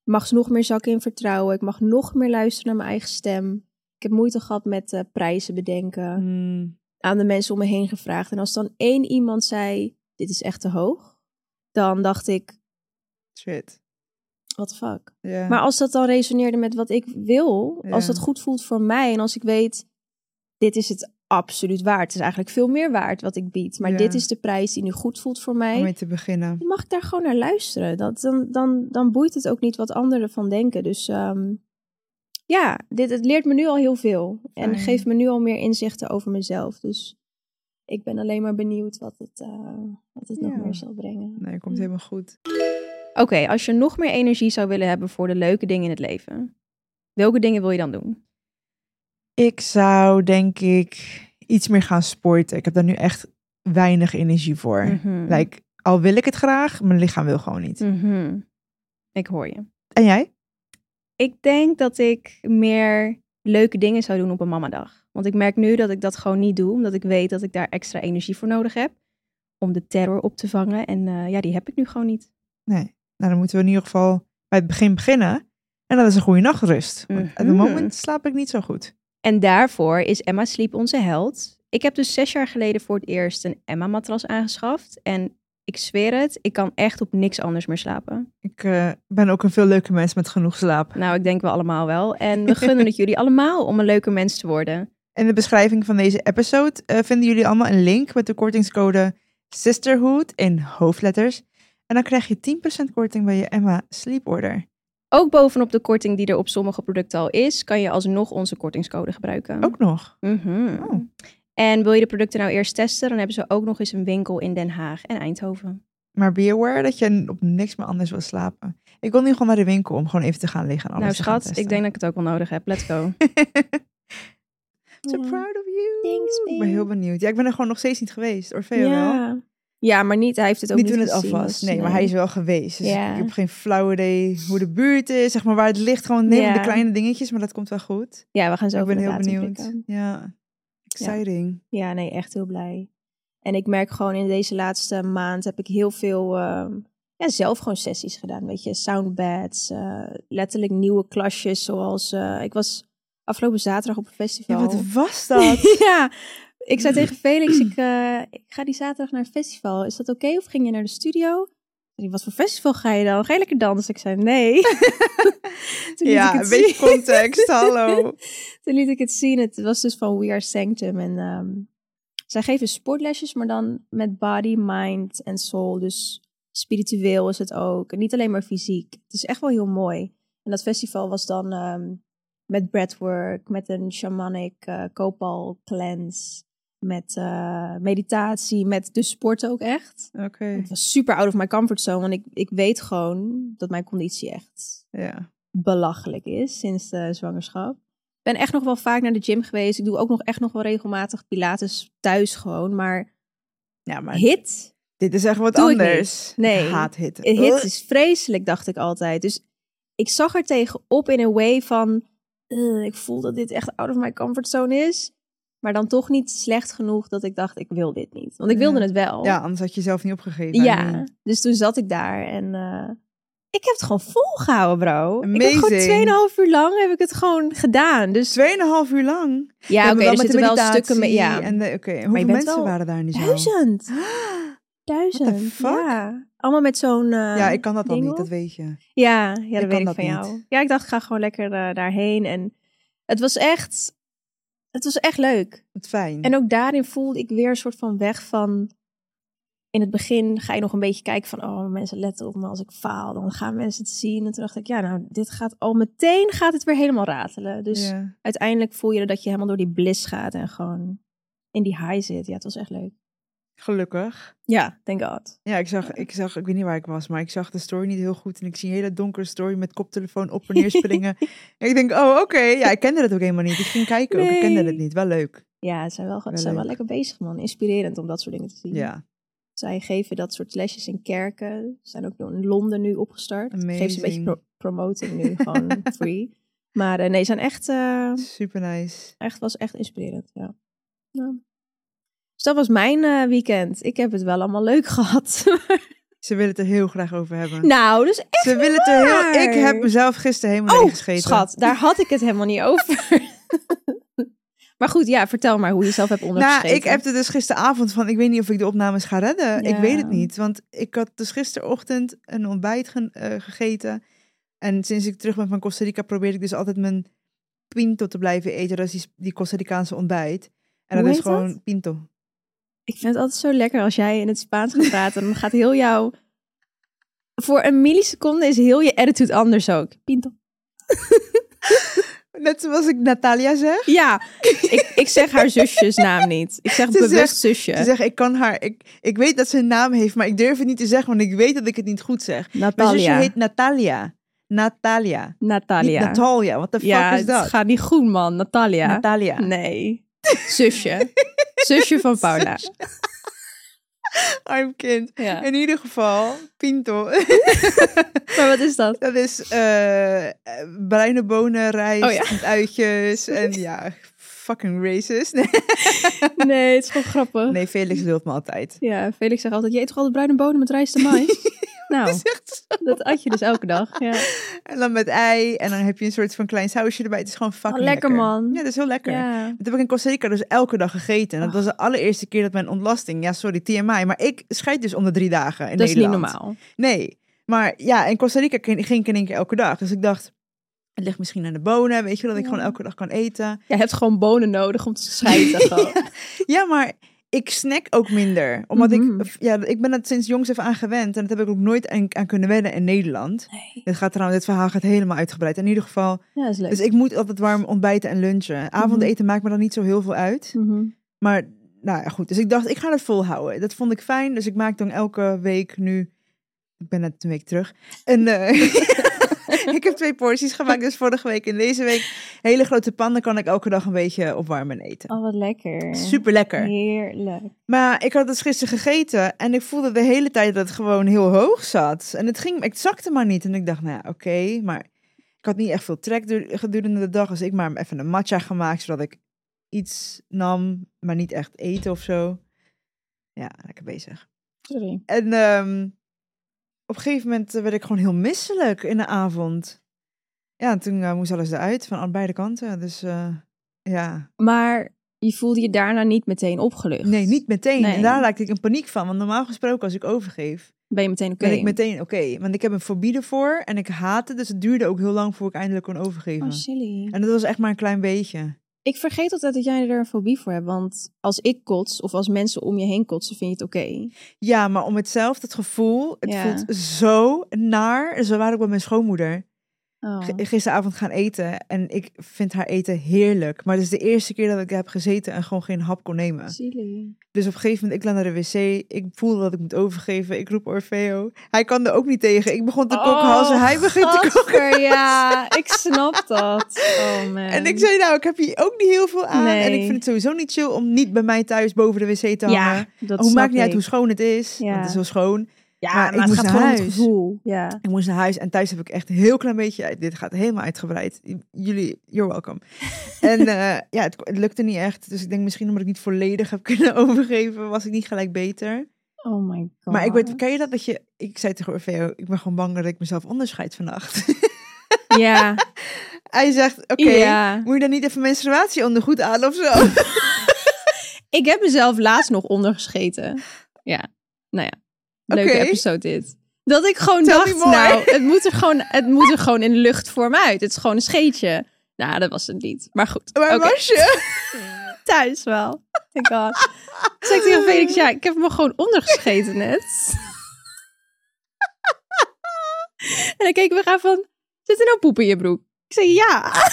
[SPEAKER 3] Ik mag nog meer zakken in vertrouwen. Ik mag nog meer luisteren naar mijn eigen stem. Ik heb moeite gehad met eh, prijzen bedenken
[SPEAKER 1] Hmm.
[SPEAKER 3] aan de mensen om me heen gevraagd. En als dan één iemand zei, dit is echt te hoog, dan dacht ik,
[SPEAKER 1] Shit.
[SPEAKER 3] what the fuck.
[SPEAKER 1] Ja.
[SPEAKER 3] Maar als dat dan resoneerde met wat ik wil, als
[SPEAKER 1] Ja.
[SPEAKER 3] dat goed voelt voor mij en als ik weet, dit is het absoluut waard. Het is eigenlijk veel meer waard wat ik bied, maar
[SPEAKER 1] Ja.
[SPEAKER 3] dit is de prijs die nu goed voelt voor mij.
[SPEAKER 1] Om mee te beginnen.
[SPEAKER 3] Dan mag ik daar gewoon naar luisteren. Dat, dan, dan, dan boeit het ook niet wat anderen van denken. Dus ehm, ja, dit, het leert me nu al heel veel. En
[SPEAKER 1] Fijn.
[SPEAKER 3] geeft me nu al meer inzichten over mezelf. Dus ik ben alleen maar benieuwd wat het, eh, wat het nog
[SPEAKER 1] Ja.
[SPEAKER 3] meer zal brengen.
[SPEAKER 1] Nee, komt helemaal goed.
[SPEAKER 3] Oké, als je nog meer energie zou willen hebben voor de leuke dingen in het leven. Welke dingen wil je dan doen?
[SPEAKER 1] Ik zou denk ik iets meer gaan sporten. Ik heb daar nu echt weinig energie voor.
[SPEAKER 3] Mhm.
[SPEAKER 1] Like, al wil ik het graag, mijn lichaam wil gewoon niet.
[SPEAKER 3] Mhm. Ik hoor je.
[SPEAKER 1] En jij?
[SPEAKER 3] Ik denk dat ik meer leuke dingen zou doen op een mamadag. Want ik merk nu dat ik dat gewoon niet doe, omdat ik weet dat ik daar extra energie voor nodig heb. Om de terror op te vangen. En eh, ja, die heb ik nu gewoon niet.
[SPEAKER 1] Nee. Nou, dan moeten we in ieder geval bij het begin beginnen. En dat is een goede nachtrust. Want op het
[SPEAKER 3] Mhm.
[SPEAKER 1] moment slaap ik niet zo goed.
[SPEAKER 3] En daarvoor is Emma Sleep onze held. Ik heb dus zes jaar geleden voor het eerst een Emma-matras aangeschaft. En ik zweer het, ik kan echt op niks anders meer slapen.
[SPEAKER 1] Ik eh, ben ook een veel leuke mens met genoeg slaap.
[SPEAKER 3] Nou, ik denk wel allemaal wel. En we gunnen het jullie allemaal om een leuke mens te worden.
[SPEAKER 1] In de beschrijving van deze episode eh, vinden jullie allemaal een link met de kortingscode Sisterhood in hoofdletters. En dan krijg je 10% korting bij je Emma Sleeporder.
[SPEAKER 3] Ook bovenop de korting die er op sommige producten al is, kan je alsnog onze kortingscode gebruiken.
[SPEAKER 1] Ook nog.
[SPEAKER 3] Mhm.
[SPEAKER 1] Oh.
[SPEAKER 3] En wil je de producten nou eerst testen, dan hebben ze ook nog eens een winkel in Den Haag en Eindhoven.
[SPEAKER 1] Maar be aware dat je op niks meer anders wil slapen. Ik wil nu gewoon naar de winkel om gewoon even te gaan liggen en alles
[SPEAKER 3] nou
[SPEAKER 1] te gaan
[SPEAKER 3] schat, ik denk
[SPEAKER 1] testen.
[SPEAKER 3] dat ik het ook wel nodig heb. Let's go.
[SPEAKER 1] so proud of you.
[SPEAKER 3] Thanks,
[SPEAKER 1] Ik ben heel benieuwd. Ja, ik ben er gewoon nog steeds niet geweest. Orfeo wel.
[SPEAKER 3] ja, maar niet. Hij heeft het ook
[SPEAKER 1] Niet
[SPEAKER 3] niet,
[SPEAKER 1] toen het af
[SPEAKER 3] gezien,
[SPEAKER 1] was.
[SPEAKER 3] dus
[SPEAKER 1] Nee, maar hij is wel geweest. Dus ik-
[SPEAKER 3] Ja.
[SPEAKER 1] ik heb geen flauw idee hoe de buurt is. Zeg maar waar het ligt. Gewoon neem
[SPEAKER 3] Ja.
[SPEAKER 1] de kleine dingetjes, maar dat komt wel goed.
[SPEAKER 3] Ja, we gaan zo
[SPEAKER 1] ik ben
[SPEAKER 3] van de
[SPEAKER 1] heel
[SPEAKER 3] datum
[SPEAKER 1] benieuwd.
[SPEAKER 3] prikken.
[SPEAKER 1] Ja. Exciting.
[SPEAKER 3] Ja, nee, echt heel blij. En ik merk gewoon in deze laatste maand heb ik heel veel ehm, ja, zelf gewoon sessies gedaan. Weet je, soundbeds, eh, letterlijk nieuwe klasjes. Zoals eh, ik was afgelopen zaterdag op een
[SPEAKER 1] Ja,
[SPEAKER 3] festival.
[SPEAKER 1] wat was dat?
[SPEAKER 3] ja, ik zei tegen Felix, ik, eh, ik ga die zaterdag naar een festival. Is dat oké? Of ging je naar de studio? Zei hij, Wat voor festival ga je dan? Ga je lekker dansen? Ik zei nee. Toen liet ik
[SPEAKER 1] ja,
[SPEAKER 3] het
[SPEAKER 1] een beetje
[SPEAKER 3] zien.
[SPEAKER 1] context. Hallo.
[SPEAKER 3] Toen liet ik het zien. Het was dus van We Are Sanctum. En ehm, zij geven sportlesjes, maar dan met body, mind en soul. Dus spiritueel is het ook. En niet alleen maar fysiek. Het is echt wel heel mooi. En dat festival was dan ehm, met breathwork, met een shamanic eh kopal cleanse. Met eh, meditatie, met de sport ook echt.
[SPEAKER 1] Oké.
[SPEAKER 3] Het was super out of my comfort zone, want ik, ik weet gewoon dat mijn conditie echt
[SPEAKER 1] Ja.
[SPEAKER 3] belachelijk is sinds de zwangerschap. Ik ben echt nog wel vaak naar de gym geweest. Ik doe ook nog echt nog wel regelmatig pilates thuis gewoon. Maar,
[SPEAKER 1] Ja, maar
[SPEAKER 3] hit,
[SPEAKER 1] dit is echt wat
[SPEAKER 3] Doe ik niet.
[SPEAKER 1] anders.
[SPEAKER 3] Nee.
[SPEAKER 1] Ik haat hitte.
[SPEAKER 3] hit is vreselijk, dacht ik altijd. Dus ik zag er tegenop in een way van... "Ugh, ik voel dat dit echt out of my comfort zone is. Maar dan toch niet slecht genoeg dat ik dacht, ik wil dit niet. Want ik wilde
[SPEAKER 1] Ja.
[SPEAKER 3] het wel.
[SPEAKER 1] Ja, anders had je zelf niet opgegeven. I
[SPEAKER 3] Ja,
[SPEAKER 1] mean.
[SPEAKER 3] dus toen zat ik daar en eh, ik heb het gewoon volgehouden, bro. Ik heb
[SPEAKER 1] Amazing.
[SPEAKER 3] gewoon 2,5 uur lang heb ik het gewoon gedaan. Dus
[SPEAKER 1] Tweeënhalf uur lang.
[SPEAKER 3] ja,
[SPEAKER 1] Ja,
[SPEAKER 3] oké,
[SPEAKER 1] maar
[SPEAKER 3] er zitten wel
[SPEAKER 1] meditatie
[SPEAKER 3] stukken mee. Ja,
[SPEAKER 1] En de, oké, en hoeveel
[SPEAKER 3] bent
[SPEAKER 1] mensen
[SPEAKER 3] wel
[SPEAKER 1] waren daar niet zo?
[SPEAKER 3] duizend, duizend.
[SPEAKER 1] fuck?
[SPEAKER 3] Ja, allemaal met zo'n. eh,
[SPEAKER 1] Ja, ik kan dat dan
[SPEAKER 3] ding
[SPEAKER 1] niet, dat
[SPEAKER 3] op.
[SPEAKER 1] weet je.
[SPEAKER 3] Ja, ja, dat
[SPEAKER 1] kan
[SPEAKER 3] weet ik
[SPEAKER 1] dat
[SPEAKER 3] van
[SPEAKER 1] niet.
[SPEAKER 3] jou. Ja, ik dacht, ik ga gewoon lekker eh, daarheen en het was echt, het was echt leuk.
[SPEAKER 1] Wat fijn.
[SPEAKER 3] En ook daarin voelde ik weer een soort van weg van. In het begin ga je nog een beetje kijken van, oh, mensen letten op me als ik faal. Dan gaan mensen het zien. En toen dacht ik, ja, nou, dit gaat al meteen gaat het weer helemaal ratelen. Dus
[SPEAKER 1] Ja.
[SPEAKER 3] uiteindelijk voel je dat je helemaal door die bliss gaat en gewoon in die high zit. Ja, het was echt leuk.
[SPEAKER 1] Gelukkig.
[SPEAKER 3] Ja, thank god.
[SPEAKER 1] Ja, ik zag, ik zag, ik weet niet waar ik was, maar ik zag de story niet heel goed. En ik zie een hele donkere story met koptelefoon op en neer springen. en ik denk, oh, oké. Ja, ik kende dat ook helemaal niet. Ik ging kijken ook, ik kende
[SPEAKER 3] Nee.
[SPEAKER 1] het niet. Wel leuk.
[SPEAKER 3] Ja, ze zijn wel, gewoon-
[SPEAKER 1] Wel
[SPEAKER 3] ze zijn wel
[SPEAKER 1] leuk.
[SPEAKER 3] lekker bezig, man. Inspirerend om dat soort dingen te zien.
[SPEAKER 1] Ja,
[SPEAKER 3] Zij geven dat soort lesjes in kerken. Ze zijn ook door in Londen nu opgestart. Ik Geef ze een beetje
[SPEAKER 1] Amazing.
[SPEAKER 3] pro- promoting nu, gewoon free. Maar eh, nee, ze zijn echt, eh,
[SPEAKER 1] super nice.
[SPEAKER 3] echt, was echt inspirerend, ja. Ja. Dus dat was mijn eh, weekend. Ik heb het wel allemaal leuk gehad.
[SPEAKER 1] Ze willen het er heel graag over hebben.
[SPEAKER 3] nou, dus echt...
[SPEAKER 1] Ze willen het er
[SPEAKER 3] waar.
[SPEAKER 1] heel... Ik heb mezelf gisteren helemaal
[SPEAKER 3] Oh,
[SPEAKER 1] ingescheten.
[SPEAKER 3] schat, daar had ik het helemaal niet over. maar goed, ja, vertel maar hoe je zelf hebt
[SPEAKER 1] Nou,
[SPEAKER 3] ondergeschreven.
[SPEAKER 1] ik appte dus gisteravond van, ik weet niet of ik de opnames ga redden. Ik weet het
[SPEAKER 3] Ja.
[SPEAKER 1] niet, want ik had dus gisterochtend een ontbijt gen- eh, gegeten. En sinds ik terug ben van Costa Rica probeer ik dus altijd mijn pinto te blijven eten. Dat is die, die Costa Ricaanse ontbijt. En
[SPEAKER 3] Hoe
[SPEAKER 1] dat is
[SPEAKER 3] heet dat?
[SPEAKER 1] gewoon pinto.
[SPEAKER 3] Ik vind het altijd zo lekker als jij in het Spaans gaat praten. Dan gaat heel jouw... Voor een milliseconde is heel je attitude anders ook. Pinto.
[SPEAKER 1] Net zoals ik Natalia zeg.
[SPEAKER 3] Ja, ik, ik zeg haar zusjesnaam niet. Ik zeg
[SPEAKER 1] Ze
[SPEAKER 3] bewust
[SPEAKER 1] zegt-
[SPEAKER 3] zusje.
[SPEAKER 1] Ze zegt, ik kan haar, ik, ik weet dat ze een naam heeft, maar ik durf het niet te zeggen, want ik weet dat ik het niet goed zeg. Mijn zusje
[SPEAKER 3] Natalia.
[SPEAKER 1] heet Natalia. Natalia. Niet
[SPEAKER 3] Natalia.
[SPEAKER 1] Natalia, what the fuck
[SPEAKER 3] ja,
[SPEAKER 1] is dat?
[SPEAKER 3] het gaat niet goed, man. Natalia. Hm.
[SPEAKER 1] Natalia.
[SPEAKER 3] Nee. Zusje. zusje van Paula.
[SPEAKER 1] Arm kind.
[SPEAKER 3] Ja.
[SPEAKER 1] In ieder geval, Pinto.
[SPEAKER 3] Maar wat is dat?
[SPEAKER 1] Dat is eh, eh, bruine bonen, rijst,
[SPEAKER 3] Oh ja.
[SPEAKER 1] met uitjes en ja, fucking racist. Nee,
[SPEAKER 3] Nee, het is gewoon grappig.
[SPEAKER 1] nee Felix lult me altijd.
[SPEAKER 3] Ja, Felix zegt altijd, je eet toch altijd bruine bonen met rijst en mais?
[SPEAKER 1] Dat
[SPEAKER 3] nou,
[SPEAKER 1] is echt zo.
[SPEAKER 3] dat at je dus elke dag. Ja,
[SPEAKER 1] En dan met ei en dan heb je een soort van klein sausje erbij. Het is gewoon fucking
[SPEAKER 3] Oh, lekker, man.
[SPEAKER 1] Ja, dat is heel lekker.
[SPEAKER 3] ja. Oh.
[SPEAKER 1] Dat heb ik in Costa Rica dus elke dag gegeten. En dat
[SPEAKER 3] Och.
[SPEAKER 1] was de allereerste keer dat mijn ontlasting... Ja, sorry, TMI. Maar ik scheid dus om de drie dagen in
[SPEAKER 3] dat is niet
[SPEAKER 1] Nederland.
[SPEAKER 3] normaal.
[SPEAKER 1] Nee. Maar ja, in Costa Rica ging ging ik in één keer elke dag. Dus ik dacht, het ligt misschien aan de bonen. Weet je, wel, dat
[SPEAKER 3] Ja.
[SPEAKER 1] ik gewoon elke dag kan eten.
[SPEAKER 3] Je hebt gewoon bonen nodig om te scheiden. gewoon.
[SPEAKER 1] Ja, maar ik snack ook minder. Omdat
[SPEAKER 3] Mhm.
[SPEAKER 1] ik... Ja, ik ben het sinds jongs even aan gewend. En dat heb ik ook nooit aan, aan kunnen wennen in Nederland.
[SPEAKER 3] Nee.
[SPEAKER 1] Dit, gaat trouwens, dit verhaal gaat helemaal uitgebreid. In ieder geval...
[SPEAKER 3] Ja, dat is leuk.
[SPEAKER 1] Dus ik moet altijd warm ontbijten en lunchen. Avondeten maakt me dan niet zo heel veel uit.
[SPEAKER 3] Mhm.
[SPEAKER 1] Maar nou ja, goed. Dus ik dacht, ik ga dat volhouden. Dat vond ik fijn. Dus ik maak dan elke week nu. Ik ben net een week terug. En ik heb twee porties gemaakt. Dus vorige week en deze week. Hele grote pannen kan ik elke dag een beetje opwarmen en eten.
[SPEAKER 3] Oh, wat lekker.
[SPEAKER 1] Super lekker.
[SPEAKER 3] Heerlijk.
[SPEAKER 1] Maar ik had het gisteren gegeten en ik voelde de hele tijd dat het gewoon heel hoog zat. En het ging, het zakte maar niet. En ik dacht, nou ja, oké, maar ik had niet echt veel trek dur- gedurende de dag. Dus ik maar even een matcha gemaakt, zodat ik iets nam, maar niet echt eten of zo. Ja, lekker bezig.
[SPEAKER 3] Sorry.
[SPEAKER 1] En ehm, op een gegeven moment eh, werd ik gewoon heel misselijk in de avond. Ja, en toen eh, moest alles eruit van aan beide kanten. Dus eh, ja,
[SPEAKER 3] Maar je voelde je daarna niet meteen opgelucht.
[SPEAKER 1] nee, niet meteen.
[SPEAKER 3] Nee.
[SPEAKER 1] En daar raakte ik in paniek van. Want normaal gesproken, als ik overgeef,
[SPEAKER 3] Ben je meteen oké?
[SPEAKER 1] ben ik meteen oké. Want ik heb een fobie ervoor en ik haat het. Dus het duurde ook heel lang voor ik eindelijk kon overgeven.
[SPEAKER 3] Oh, silly.
[SPEAKER 1] en dat was echt maar een klein beetje.
[SPEAKER 3] Ik vergeet altijd dat jij er een fobie voor hebt. Want als ik kots of als mensen om je heen kotsen, vind je het oké.
[SPEAKER 1] Ja, maar om hetzelfde, het gevoel, het
[SPEAKER 3] Ja.
[SPEAKER 1] voelt zo naar. Zo waren ik bij mijn schoonmoeder.
[SPEAKER 3] Oh.
[SPEAKER 1] G- gisteravond gaan eten en ik vind haar eten heerlijk. Maar het is de eerste keer dat ik heb gezeten en gewoon geen hap kon nemen.
[SPEAKER 3] Silly.
[SPEAKER 1] Dus op een gegeven moment, ik la naar de wc. Ik voelde dat ik moet overgeven. Ik roep Orfeo. Hij kan er ook niet tegen. Ik begon te kokhalzen.
[SPEAKER 3] Oh,
[SPEAKER 1] hij begint te koken.
[SPEAKER 3] gadver, ja. Ik snap dat. Oh man.
[SPEAKER 1] En ik zei, nou, ik heb hier ook niet heel veel aan. En ik
[SPEAKER 3] Nee.
[SPEAKER 1] vind het sowieso niet chill om niet bij mij thuis boven de wc te hangen.
[SPEAKER 3] Ja, dat
[SPEAKER 1] hoe
[SPEAKER 3] snap
[SPEAKER 1] maakt niet
[SPEAKER 3] ik.
[SPEAKER 1] uit hoe schoon het is.
[SPEAKER 3] Ja.
[SPEAKER 1] Want het is wel schoon.
[SPEAKER 3] Ja,
[SPEAKER 1] maar
[SPEAKER 3] maar,
[SPEAKER 1] ik
[SPEAKER 3] het
[SPEAKER 1] moest
[SPEAKER 3] gaat
[SPEAKER 1] naar
[SPEAKER 3] gewoon om het
[SPEAKER 1] huis.
[SPEAKER 3] gevoel. Ja.
[SPEAKER 1] Ik moest naar huis en thuis heb ik echt een heel klein beetje... eh, Dit gaat helemaal uitgebreid. Jullie, you're welcome. en eh, ja, het, het lukte niet echt. Dus ik denk misschien omdat ik niet volledig heb kunnen overgeven... was ik niet gelijk beter.
[SPEAKER 3] Oh my god.
[SPEAKER 1] Maar ik weet, ken je dat dat je... Ik zei tegen Orfeo, ik ben gewoon bang dat ik mezelf onderscheid vannacht.
[SPEAKER 3] Ja.
[SPEAKER 1] Hij zegt, oké,
[SPEAKER 3] Ja.
[SPEAKER 1] moet je dan niet even menstruatieondergoed aan of zo?
[SPEAKER 3] Ik heb mezelf laatst nog ondergescheten. Ja. Nou ja. Leuke
[SPEAKER 1] Oké.
[SPEAKER 3] episode dit. Dat ik gewoon
[SPEAKER 1] Tell me
[SPEAKER 3] dacht,
[SPEAKER 1] more.
[SPEAKER 3] nou, het moet, er gewoon, het moet er gewoon in de lucht voor me uit. Het is gewoon een scheetje. Nou, dat was het niet. Maar goed.
[SPEAKER 1] Waar
[SPEAKER 3] Oké.
[SPEAKER 1] was je?
[SPEAKER 3] Thuis wel. Thank god. Toen zei ik tegen Felix, ja, ik heb me gewoon ondergescheten net. en dan keken we gaan van, zit er nou poep in je broek? Ik zei, ja.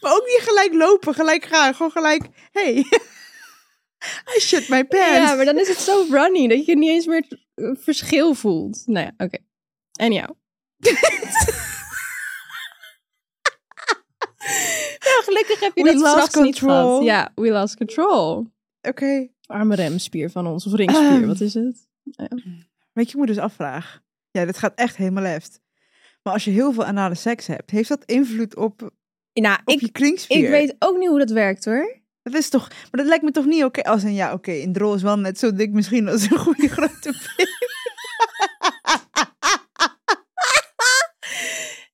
[SPEAKER 1] Maar ook niet gelijk lopen, gelijk gaan. Gewoon gelijk, hey. I shit my pants.
[SPEAKER 3] Ja, dus- maar dan is het zo runny dat je niet eens meer het eh, verschil voelt. Nou ja, oké. En jou. ja, gelukkig heb je
[SPEAKER 1] We
[SPEAKER 3] dat
[SPEAKER 1] lost
[SPEAKER 3] straks niet
[SPEAKER 1] control.
[SPEAKER 3] gehad. Ja, we lost control.
[SPEAKER 1] Oké.
[SPEAKER 3] Arme remspier van ons, of ringspier,
[SPEAKER 1] Ehm.
[SPEAKER 3] wat is het?
[SPEAKER 1] Weet je, moet dus afvraag. Ja, dit gaat echt helemaal left. Maar als je heel veel anale seks hebt, heeft dat invloed op, op
[SPEAKER 3] Nou, ik,
[SPEAKER 1] je klinkspier?
[SPEAKER 3] ik weet ook niet hoe dat werkt hoor.
[SPEAKER 1] Dat is toch... Maar dat lijkt me toch niet oké? Als een ja, oké, een drol is wel net zo dik misschien als een goede grote pik.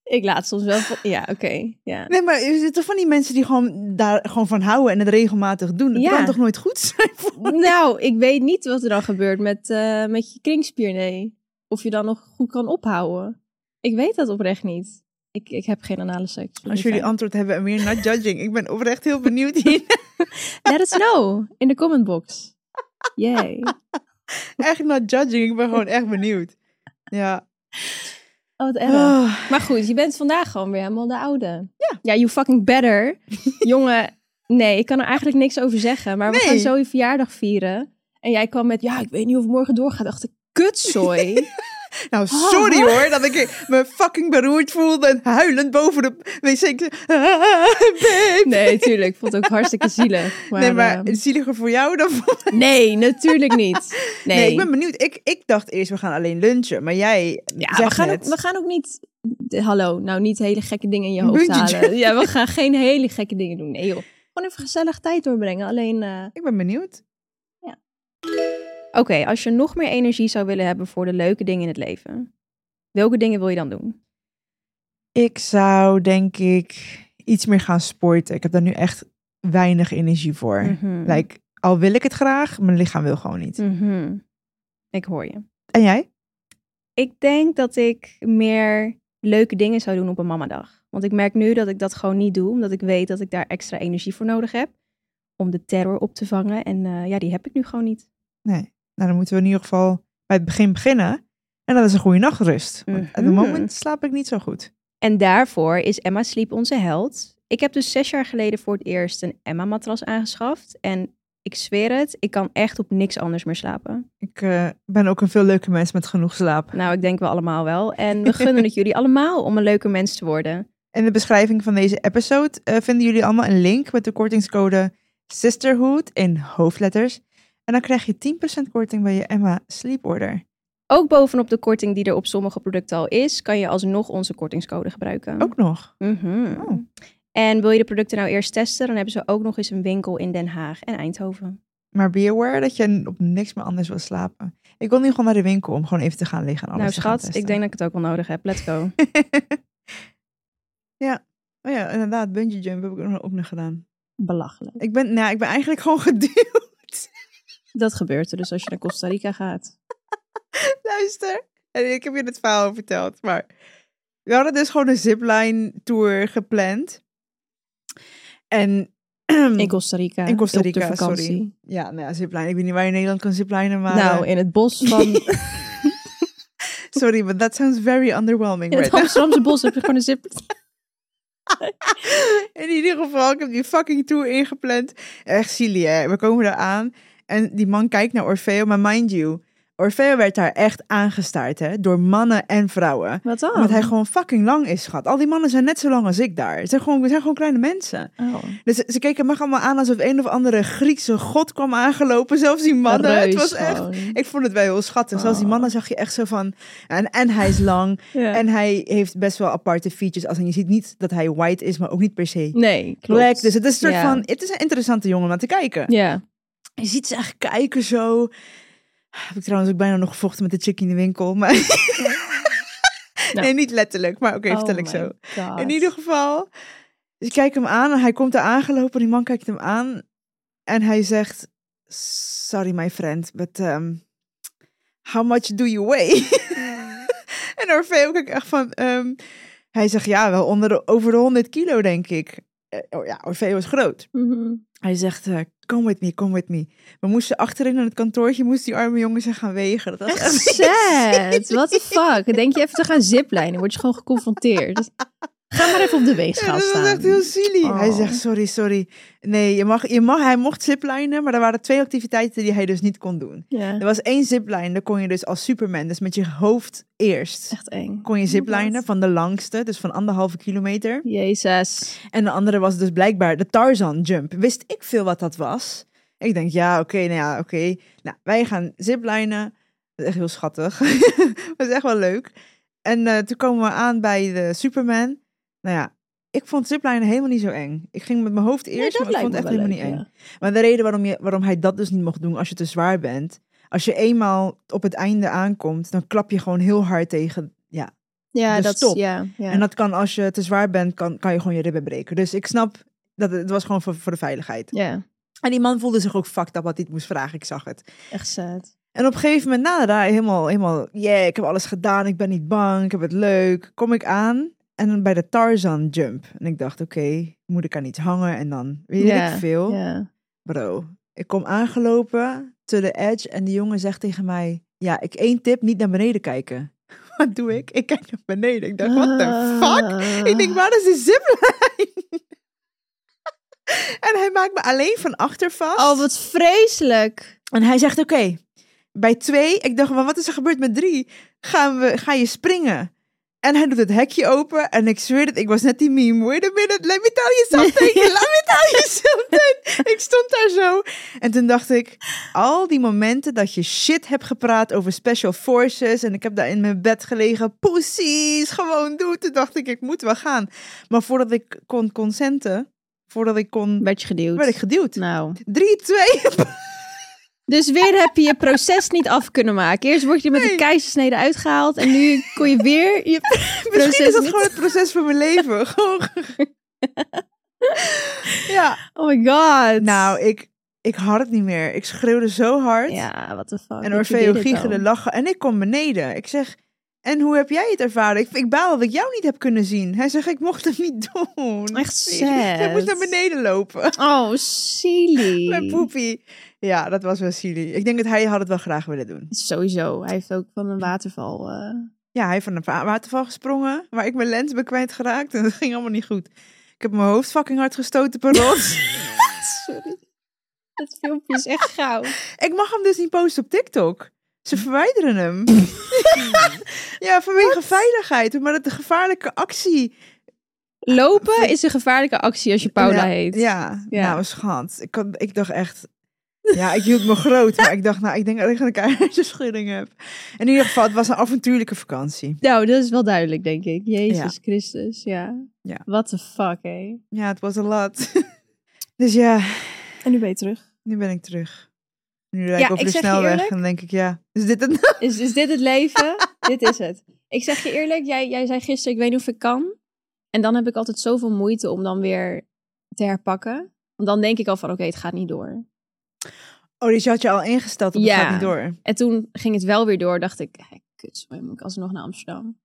[SPEAKER 3] Ik laat soms wel van- Ja, oké. Ja.
[SPEAKER 1] Nee, maar er zijn toch van die mensen die gewoon daar gewoon van houden en het regelmatig doen? Dat
[SPEAKER 3] Ja.
[SPEAKER 1] kan toch nooit goed zijn voor...
[SPEAKER 3] Nou, ik weet niet wat er dan gebeurt met, eh, met je kringspier, nee. Of je dan nog goed kan ophouden. Ik weet dat oprecht niet. Ik, ik heb geen anale seks. Vind ik
[SPEAKER 1] Als jullie
[SPEAKER 3] fijn.
[SPEAKER 1] antwoord hebben en weer not judging. Ik ben oprecht heel benieuwd hier.
[SPEAKER 3] Let us know in de comment box. Yay.
[SPEAKER 1] echt not judging. Ik ben gewoon echt benieuwd. Ja.
[SPEAKER 3] Oh, wat erg.
[SPEAKER 1] Oh,
[SPEAKER 3] Maar goed, je bent vandaag gewoon weer helemaal de oude. Ja. Ja, you fucking better. Jongen, nee, ik kan er eigenlijk niks over zeggen. Maar we
[SPEAKER 1] Nee.
[SPEAKER 3] gaan zo je verjaardag vieren. En jij kwam met, ja, ik weet niet of het morgen doorgaat. Dacht ik, kutzooi.
[SPEAKER 1] Nou, sorry hoor, dat ik er me fucking beroerd voelde en huilend boven de wc. Ik zei, "Ah, babe."
[SPEAKER 3] Nee, tuurlijk. Ik vond het ook hartstikke zielig. Maar,
[SPEAKER 1] nee, maar
[SPEAKER 3] ehm,
[SPEAKER 1] zieliger voor jou dan voor...
[SPEAKER 3] nee, natuurlijk niet. Nee,
[SPEAKER 1] Nee. ik ben benieuwd. Ik, ik dacht eerst, we gaan alleen lunchen. Maar jij
[SPEAKER 3] ja,
[SPEAKER 1] zegt
[SPEAKER 3] we, gaan ook,
[SPEAKER 1] net,
[SPEAKER 3] we gaan ook niet... de- hallo, nou niet hele gekke dingen in je hoofd
[SPEAKER 1] Budget.
[SPEAKER 3] halen. Ja, we gaan geen hele gekke dingen doen. Nee joh. Gewoon even gezellig tijd doorbrengen. Alleen... eh,
[SPEAKER 1] Ik ben benieuwd.
[SPEAKER 3] Oké, als je nog meer energie zou willen hebben voor de leuke dingen in het leven. Welke dingen wil je dan doen?
[SPEAKER 1] Ik zou denk ik iets meer gaan sporten. Ik heb daar nu echt weinig energie voor.
[SPEAKER 3] Mhm.
[SPEAKER 1] Like, al wil ik het graag, mijn lichaam wil gewoon niet.
[SPEAKER 3] Mhm. Ik hoor je.
[SPEAKER 1] En jij?
[SPEAKER 3] Ik denk dat ik meer leuke dingen zou doen op een mamadag. Want ik merk nu dat ik dat gewoon niet doe, omdat ik weet dat ik daar extra energie voor nodig heb. Om de terror op te vangen. En eh, ja, die heb ik nu gewoon niet.
[SPEAKER 1] Nee. Nou, dan moeten we in ieder geval bij het begin beginnen. En dat is een goede nachtrust. Want op het
[SPEAKER 3] Mhm.
[SPEAKER 1] moment slaap ik niet zo goed.
[SPEAKER 3] En daarvoor is Emma Sleep onze held. Ik heb dus zes jaar geleden voor het eerst een Emma-matras aangeschaft. En ik zweer het, ik kan echt op niks anders meer slapen.
[SPEAKER 1] Ik eh, ben ook een veel leuke mens met genoeg slaap.
[SPEAKER 3] Nou, ik denk wel allemaal wel. En we gunnen het jullie allemaal om een leuke mens te worden.
[SPEAKER 1] In de beschrijving van deze episode eh, vinden jullie allemaal een link met de kortingscode Sisterhood in hoofdletters. En dan krijg je 10% korting bij je Emma Sleep
[SPEAKER 3] Mhm.
[SPEAKER 1] Order.
[SPEAKER 3] Ook bovenop de korting die er op sommige producten al is, kan je alsnog onze kortingscode gebruiken.
[SPEAKER 1] Ook nog.
[SPEAKER 3] Mhm.
[SPEAKER 1] Oh.
[SPEAKER 3] En wil je de producten nou eerst testen, dan hebben ze ook nog eens een winkel in Den Haag en Eindhoven.
[SPEAKER 1] Maar be aware dat je op niks meer anders wil slapen. Ik wil nu gewoon naar de winkel om gewoon even te gaan liggen en alles
[SPEAKER 3] nou
[SPEAKER 1] te gaan
[SPEAKER 3] schat, ik denk
[SPEAKER 1] testen.
[SPEAKER 3] dat ik het ook wel nodig heb. Let's go.
[SPEAKER 1] ja. Oh ja, inderdaad. Bungee jump heb ik ook nog- ook nog gedaan.
[SPEAKER 3] Belachelijk.
[SPEAKER 1] Ik ben, nou, ik ben eigenlijk gewoon geduwd.
[SPEAKER 3] Dat gebeurt er dus als je naar Costa Rica gaat.
[SPEAKER 1] Luister. En ik heb je het verhaal verteld. Maar we hadden dus gewoon een zipline tour gepland. En
[SPEAKER 3] Mm. In Costa Rica.
[SPEAKER 1] In Costa
[SPEAKER 3] op de
[SPEAKER 1] Rica,
[SPEAKER 3] vakantie.
[SPEAKER 1] sorry. ja, nou ja, zipline. Ik weet niet waar je in Nederland kan ziplinen, maar...
[SPEAKER 3] Nou,
[SPEAKER 1] eh,
[SPEAKER 3] in het bos van...
[SPEAKER 1] sorry, but that sounds very underwhelming
[SPEAKER 3] in het
[SPEAKER 1] right now.
[SPEAKER 3] Amsterdamse bos heb je gewoon een zip...
[SPEAKER 1] In ieder geval, ik heb die fucking tour ingepland. Echt silly, hè. We komen daar aan. En die man kijkt naar Orfeo, maar mind you... Orfeo werd daar echt aangestaard, hè. Door mannen en vrouwen.
[SPEAKER 3] Wat dan?
[SPEAKER 1] Omdat hij gewoon fucking lang is, schat. Al die mannen zijn net zo lang als ik daar. Ze zijn gewoon, ze zijn gewoon kleine mensen.
[SPEAKER 3] Oh.
[SPEAKER 1] Dus ze, ze keken me allemaal aan alsof een of andere Griekse god kwam aangelopen. Zelfs die mannen. het
[SPEAKER 3] Reus
[SPEAKER 1] was echt...
[SPEAKER 3] gewoon.
[SPEAKER 1] Ik vond het wel heel schattig. Zelfs die
[SPEAKER 3] Oh.
[SPEAKER 1] mannen zag je echt zo van... En, en hij is lang.
[SPEAKER 3] Ja.
[SPEAKER 1] En hij heeft best wel aparte features. Als, en je ziet niet dat hij white is, maar ook niet per se
[SPEAKER 3] Nee, klopt.
[SPEAKER 1] black. Dus het is een soort
[SPEAKER 3] Ja.
[SPEAKER 1] van... Het is een interessante jongen om naar te kijken.
[SPEAKER 3] Ja.
[SPEAKER 1] Je ziet ze echt kijken zo. Heb ik trouwens ook bijna nog gevochten met de chick in de winkel. Maar...
[SPEAKER 3] Nou.
[SPEAKER 1] Nee, niet letterlijk. Maar oké, vertel
[SPEAKER 3] Oh
[SPEAKER 1] ik zo. In ieder geval, ik kijk hem aan en hij komt er aangelopen. Die man kijkt hem aan en hij zegt: Sorry, my friend, but ehm, how much do you weigh? en Orfeo kijkt echt van: ehm, Hij zegt ja, wel onder de, over de 100 kilo, denk ik. Eh, oh ja, Orfeo is groot.
[SPEAKER 3] Mm-hmm.
[SPEAKER 1] Hij zegt: eh, Come with me, come with me. We moesten achterin in het kantoortje, moest die arme jongen zich gaan wegen. Dat was
[SPEAKER 3] Echt sad. What the fuck? Dan Denk je even te gaan ziplijnen, word je gewoon geconfronteerd. Dus Ga maar even op de
[SPEAKER 1] Ja,
[SPEAKER 3] weegschaal
[SPEAKER 1] dat
[SPEAKER 3] staan.
[SPEAKER 1] was echt heel silly. Hij
[SPEAKER 3] Oh.
[SPEAKER 1] zegt, sorry, sorry. Nee, je mag, je mag, hij mocht ziplinen, maar er waren twee activiteiten die hij dus niet kon doen.
[SPEAKER 3] Ja,
[SPEAKER 1] Er was één zipline, daar kon je dus als Superman, dus met je hoofd eerst,
[SPEAKER 3] echt eng.
[SPEAKER 1] kon je ziplinen
[SPEAKER 3] Wat?
[SPEAKER 1] van de langste, dus van anderhalve kilometer.
[SPEAKER 3] Jezus.
[SPEAKER 1] En de andere was dus blijkbaar de Tarzan jump. Wist ik veel wat dat was? Ik denk, ja, oké, nou ja, oké. Nou, wij gaan ziplinen. Dat is echt heel schattig. dat is echt wel leuk. En eh, toen komen we aan bij de Superman. Nou ja, ik vond ziplinen helemaal niet zo eng. Ik ging met mijn hoofd eerst, maar ik vond het echt helemaal niet eng. Maar de reden waarom, je, waarom hij dat dus niet mocht doen als je te zwaar bent... Als je eenmaal op het einde aankomt, dan klap je gewoon heel hard tegen... Ja,
[SPEAKER 3] Ja,
[SPEAKER 1] Dus
[SPEAKER 3] dat
[SPEAKER 1] stop.
[SPEAKER 3] Ja, ja.
[SPEAKER 1] en dat kan als je te zwaar bent, kan, kan je gewoon je ribben breken. Dus ik snap dat het, het was gewoon voor, voor de veiligheid.
[SPEAKER 3] ja,
[SPEAKER 1] En die man voelde zich ook fucked up wat hij het moest vragen. Ik zag het.
[SPEAKER 3] echt sad.
[SPEAKER 1] En op een gegeven moment, nadat hij helemaal, helemaal, yeah, ik heb alles gedaan, ik ben niet bang, ik heb het leuk, kom ik aan. En dan bij de Tarzan jump. En ik dacht, oké, moet ik aan iets hangen? En dan weet
[SPEAKER 3] Ja,
[SPEAKER 1] ik veel.
[SPEAKER 3] Ja.
[SPEAKER 1] Bro, ik kom aangelopen to the edge en die jongen zegt tegen mij, ja, ik één tip, niet naar beneden kijken. Wat doe ik? Ik kijk naar beneden. Ik dacht, what the
[SPEAKER 3] Ah.
[SPEAKER 1] fuck? Ik denk, waar is de zipline? en hij maakt me alleen van achter vast.
[SPEAKER 3] Oh, wat Ah. vreselijk.
[SPEAKER 1] En hij zegt, oké, bij twee, ik dacht, maar wat is er gebeurd met drie? Gaan we, ga je springen? En hij doet het hekje open en ik zweer het, ik was net die meme. Wait a minute, let me tell you something, let me tell you something. Ik stond daar zo en toen dacht ik, al die momenten dat je shit hebt gepraat over special forces en ik heb daar in mijn bed gelegen, poesies, gewoon doen. Toen dacht ik, ik moet wel gaan. Maar voordat ik kon consenten, voordat ik kon,
[SPEAKER 3] Werd je geduwd.
[SPEAKER 1] werd ik geduwd.
[SPEAKER 3] Nou.
[SPEAKER 1] Drie, twee,
[SPEAKER 3] Dus weer heb je je proces niet af kunnen maken. Eerst word je met
[SPEAKER 1] Nee.
[SPEAKER 3] de keizersnede uitgehaald. En nu kon je weer je
[SPEAKER 1] Misschien
[SPEAKER 3] proces
[SPEAKER 1] is dat
[SPEAKER 3] niet-
[SPEAKER 1] gewoon het proces van mijn leven. Gewoon- ja.
[SPEAKER 3] Oh my god.
[SPEAKER 1] Nou, ik, ik had het niet meer. Ik schreeuwde zo hard.
[SPEAKER 3] Ja, what the fuck. dat
[SPEAKER 1] en
[SPEAKER 3] je
[SPEAKER 1] Orfeo
[SPEAKER 3] deed het
[SPEAKER 1] giechelde
[SPEAKER 3] al.
[SPEAKER 1] lachen. En ik kom beneden. Ik zeg, en hoe heb jij het ervaren? Ik, ik baal dat ik jou niet heb kunnen zien. Hij zegt, ik mocht het niet doen.
[SPEAKER 3] Echt
[SPEAKER 1] Ze moest naar
[SPEAKER 3] sad.
[SPEAKER 1] beneden lopen.
[SPEAKER 3] Oh, silly.
[SPEAKER 1] Mijn poepie. Ja, dat was wel silly. Ik denk dat hij had het wel graag willen doen.
[SPEAKER 3] Sowieso. Hij heeft ook van een waterval. eh,
[SPEAKER 1] Ja, hij heeft van een wa- waterval gesprongen. Waar ik mijn lens ben kwijtgeraakt. En dat ging allemaal niet goed. Ik heb mijn hoofd fucking hard gestoten per rots.
[SPEAKER 3] Sorry. Dat filmpje is echt goud.
[SPEAKER 1] Ik mag hem dus niet posten op TikTok.
[SPEAKER 3] Hm.
[SPEAKER 1] Ze verwijderen hem. ja, vanwege veiligheid. Maar dat is een gevaarlijke actie.
[SPEAKER 3] Lopen is een gevaarlijke actie als je Paula
[SPEAKER 1] ja,
[SPEAKER 3] heet.
[SPEAKER 1] Nou, Ja,
[SPEAKER 3] Ja.
[SPEAKER 1] nou schat. Ik, kan, ik dacht echt... Ja, ik hield me groot. Maar ik dacht, nou, ik denk dat ik een kaarsjeschudding heb. In ieder geval, het was een avontuurlijke vakantie.
[SPEAKER 3] Nou, dat is wel duidelijk, denk ik. Jezus Christus, ja.
[SPEAKER 1] Ja.
[SPEAKER 3] What the fuck, hé.
[SPEAKER 1] Ja, het was een lot. dus ja,
[SPEAKER 3] En nu ben je terug.
[SPEAKER 1] nu ben ik terug. Nu rijd ik
[SPEAKER 3] Ja,
[SPEAKER 1] op
[SPEAKER 3] ik
[SPEAKER 1] de
[SPEAKER 3] zeg je
[SPEAKER 1] snelweg
[SPEAKER 3] eerlijk-
[SPEAKER 1] en dan denk ik, ja, is dit het?
[SPEAKER 3] Is, is dit het leven? dit is het. Ik zeg je eerlijk, jij, jij zei gisteren, ik weet niet of ik kan. En dan heb ik altijd zoveel moeite om dan weer te herpakken. Want dan denk ik al van, oké, het gaat niet door.
[SPEAKER 1] Oh, dus je had je al ingesteld op het
[SPEAKER 3] Ja.
[SPEAKER 1] gaat niet door. Oké.
[SPEAKER 3] En toen ging het wel weer door, dacht ik, hé, kut, sorry, moet ik alsnog naar Amsterdam.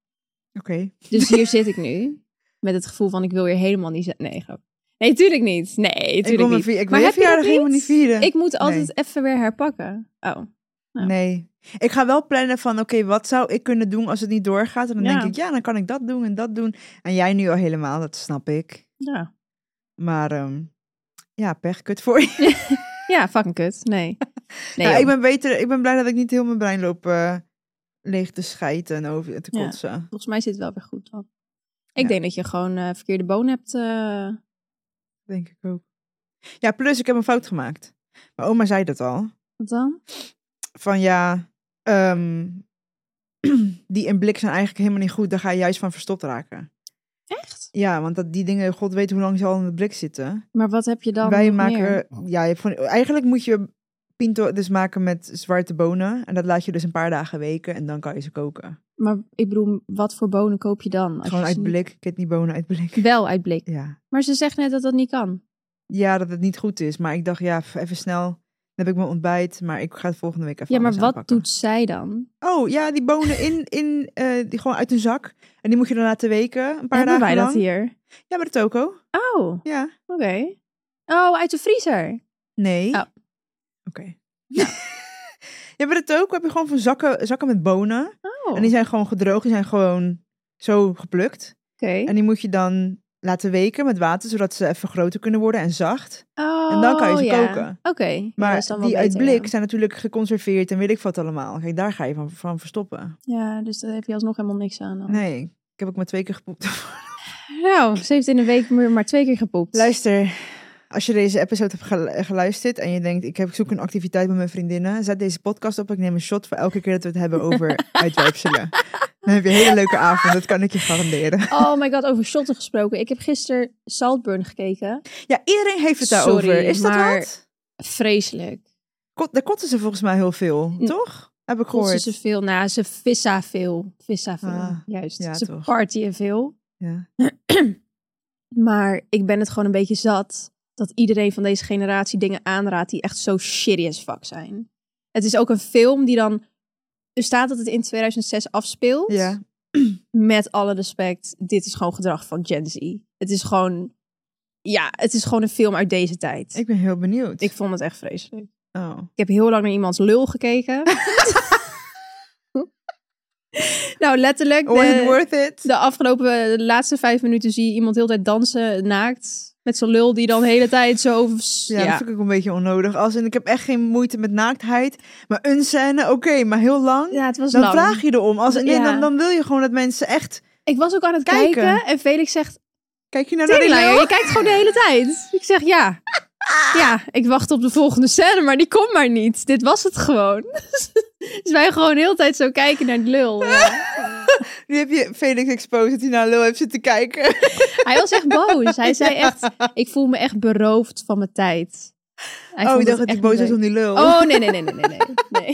[SPEAKER 3] Dus hier zit ik nu. Met het gevoel van ik wil weer helemaal niet... ze- Nee, grap. Nee, tuurlijk niet. Nee,
[SPEAKER 1] Ik wil,
[SPEAKER 3] tuurlijk
[SPEAKER 1] mijn,
[SPEAKER 3] niet.
[SPEAKER 1] vi- ik wil
[SPEAKER 3] Maar
[SPEAKER 1] je
[SPEAKER 3] heb je dat
[SPEAKER 1] verjaardag helemaal niet vieren.
[SPEAKER 3] Ik moet altijd even weer herpakken. Oh. Ja.
[SPEAKER 1] Nee. Ik ga wel plannen van, oké, wat zou ik kunnen doen als het niet doorgaat? En dan
[SPEAKER 3] Ja.
[SPEAKER 1] denk ik, ja, dan kan ik dat doen en dat doen. En jij nu al helemaal, dat snap ik.
[SPEAKER 3] Ja.
[SPEAKER 1] Maar ehm, ja, pech, kut voor je.
[SPEAKER 3] Ja, fucking kut. Nee. Nee,
[SPEAKER 1] Ja,
[SPEAKER 3] joh.
[SPEAKER 1] ik, ben beter, ik ben blij dat ik niet heel mijn brein loop eh, leeg te schijten en over te
[SPEAKER 3] Ja.
[SPEAKER 1] kotsen.
[SPEAKER 3] volgens mij zit het wel weer goed. Dan. Ik
[SPEAKER 1] Ja.
[SPEAKER 3] denk dat je gewoon eh, verkeerde boon hebt. eh.
[SPEAKER 1] Denk ik ook. Ja, plus ik heb een fout gemaakt. Mijn oma zei dat al.
[SPEAKER 3] Wat dan?
[SPEAKER 1] Van ja, ehm, die in blik zijn eigenlijk helemaal niet goed. Daar ga je juist van verstopt raken.
[SPEAKER 3] Echt?
[SPEAKER 1] Ja, want dat die dingen, god weet hoe lang ze al in de blik zitten.
[SPEAKER 3] Maar wat heb je dan
[SPEAKER 1] Wij
[SPEAKER 3] nog
[SPEAKER 1] maken,
[SPEAKER 3] meer?
[SPEAKER 1] ja, je hebt gewoon, eigenlijk moet je pinto dus maken met zwarte bonen. En dat laat je dus een paar dagen weken en dan kan je ze koken.
[SPEAKER 3] Maar ik bedoel, wat voor bonen koop je dan? Oh, Als
[SPEAKER 1] Gewoon
[SPEAKER 3] je ze
[SPEAKER 1] uit
[SPEAKER 3] niet-
[SPEAKER 1] blik, kidneybonen uit blik.
[SPEAKER 3] Wel uit blik.
[SPEAKER 1] Ja.
[SPEAKER 3] Maar ze zegt net dat dat niet kan.
[SPEAKER 1] ja, dat het niet goed is. Maar ik dacht, ja, f- even snel. Dan heb ik mijn ontbijt, maar ik ga het volgende week even
[SPEAKER 3] Ja, maar
[SPEAKER 1] anders
[SPEAKER 3] wat
[SPEAKER 1] aanpakken.
[SPEAKER 3] doet zij dan?
[SPEAKER 1] Oh, ja, die bonen in, in eh, die gewoon uit een zak. En die moet je dan laten weken, een paar
[SPEAKER 3] Hebben
[SPEAKER 1] dagen
[SPEAKER 3] wij dat
[SPEAKER 1] lang.
[SPEAKER 3] hier?
[SPEAKER 1] Ja, bij de toko.
[SPEAKER 3] Oh.
[SPEAKER 1] Ja.
[SPEAKER 3] Oké. Oh, uit de vriezer.
[SPEAKER 1] Nee.
[SPEAKER 3] Oh.
[SPEAKER 1] Oké. ja, bij de toko heb je gewoon van zakken, zakken met bonen.
[SPEAKER 3] Oh,
[SPEAKER 1] En die zijn gewoon gedroogd, die zijn gewoon zo geplukt.
[SPEAKER 3] oké.
[SPEAKER 1] En die moet je dan laten weken met water, zodat ze even groter kunnen worden en zacht.
[SPEAKER 3] Oh,
[SPEAKER 1] en dan kan je ze
[SPEAKER 3] ja.
[SPEAKER 1] koken.
[SPEAKER 3] Oké. Ja,
[SPEAKER 1] Maar
[SPEAKER 3] dat is dan wel
[SPEAKER 1] die uit
[SPEAKER 3] beter,
[SPEAKER 1] blik
[SPEAKER 3] Ja.
[SPEAKER 1] zijn natuurlijk geconserveerd en weet ik wat allemaal. Kijk, daar ga je van, van verstoppen.
[SPEAKER 3] Ja, dus daar heb je alsnog helemaal niks aan. dan.
[SPEAKER 1] Nee, ik heb ook maar twee keer gepoept.
[SPEAKER 3] Nou, ze heeft in een week maar maar twee keer gepoept.
[SPEAKER 1] Luister, als je deze episode hebt gelu- geluisterd en je denkt... ik, heb, ik zoek een activiteit met mijn vriendinnen... zet deze podcast op, ik neem een shot voor elke keer dat we het hebben over uitwerpselen. Dan heb je een hele leuke avond, dat kan ik je garanderen.
[SPEAKER 3] Oh my god, over shotten gesproken. Ik heb gisteren Saltburn gekeken.
[SPEAKER 1] Ja, iedereen heeft het daarover.
[SPEAKER 3] Sorry,
[SPEAKER 1] Is dat
[SPEAKER 3] maar-
[SPEAKER 1] wat?
[SPEAKER 3] Vreselijk.
[SPEAKER 1] Kot, daar kotten ze volgens mij heel veel,
[SPEAKER 3] N-
[SPEAKER 1] toch? Heb ik
[SPEAKER 3] Kosten
[SPEAKER 1] gehoord.
[SPEAKER 3] ze veel na. Ze vissa veel. Vissa veel.
[SPEAKER 1] Ah,
[SPEAKER 3] Juist.
[SPEAKER 1] ja,
[SPEAKER 3] ze
[SPEAKER 1] toch.
[SPEAKER 3] partyen veel.
[SPEAKER 1] Ja.
[SPEAKER 3] Maar ik ben het gewoon een beetje zat dat iedereen van deze generatie dingen aanraadt die echt zo shitty as fuck zijn. Het is ook een film die dan. Er staat dat het in 2006 afspeelt.
[SPEAKER 1] ja.
[SPEAKER 3] Met alle respect, dit is gewoon gedrag van Gen Z. Het is gewoon. Ja, het is gewoon een film uit deze tijd.
[SPEAKER 1] Ik ben heel benieuwd.
[SPEAKER 3] ik vond het echt vreselijk.
[SPEAKER 1] Oh.
[SPEAKER 3] Ik heb heel lang naar iemands lul gekeken. nou, letterlijk.
[SPEAKER 1] Was
[SPEAKER 3] de-
[SPEAKER 1] it Oh, worth it?
[SPEAKER 3] de afgelopen de laatste vijf minuten zie je iemand heel de tijd dansen, naakt. Met zo'n lul die dan de hele tijd zo...
[SPEAKER 1] Ja,
[SPEAKER 3] Ja,
[SPEAKER 1] dat vind ik ook een beetje onnodig. Als in, ik heb echt geen moeite met naaktheid. Maar een scène, oké, maar heel lang.
[SPEAKER 3] Ja, het was
[SPEAKER 1] dan
[SPEAKER 3] lang.
[SPEAKER 1] vraag je erom. Als, in,
[SPEAKER 3] Ja.
[SPEAKER 1] dan, dan wil je gewoon dat mensen echt...
[SPEAKER 3] Ik was ook aan het
[SPEAKER 1] Kijken.
[SPEAKER 3] kijken, en Felix zegt...
[SPEAKER 1] Kijk je nou naar die
[SPEAKER 3] Teringleier,
[SPEAKER 1] lul?
[SPEAKER 3] je kijkt gewoon de hele tijd. Ik zeg ja. Ja, ik wacht op de volgende scène, maar die komt maar niet. Dit was het gewoon. dus wij gewoon de hele tijd zo kijken naar die lul. ja.
[SPEAKER 1] Nu heb je Felix exposed dat hij naar lul heeft zitten kijken.
[SPEAKER 3] Hij was echt boos. Hij zei echt, ik voel me echt beroofd van mijn tijd. Hij
[SPEAKER 1] oh,
[SPEAKER 3] vond
[SPEAKER 1] ik
[SPEAKER 3] het
[SPEAKER 1] dacht dat hij
[SPEAKER 3] echt
[SPEAKER 1] boos
[SPEAKER 3] niet
[SPEAKER 1] was
[SPEAKER 3] leuk.
[SPEAKER 1] om die lul.
[SPEAKER 3] Oh, nee, nee, nee, nee, nee, nee. nee.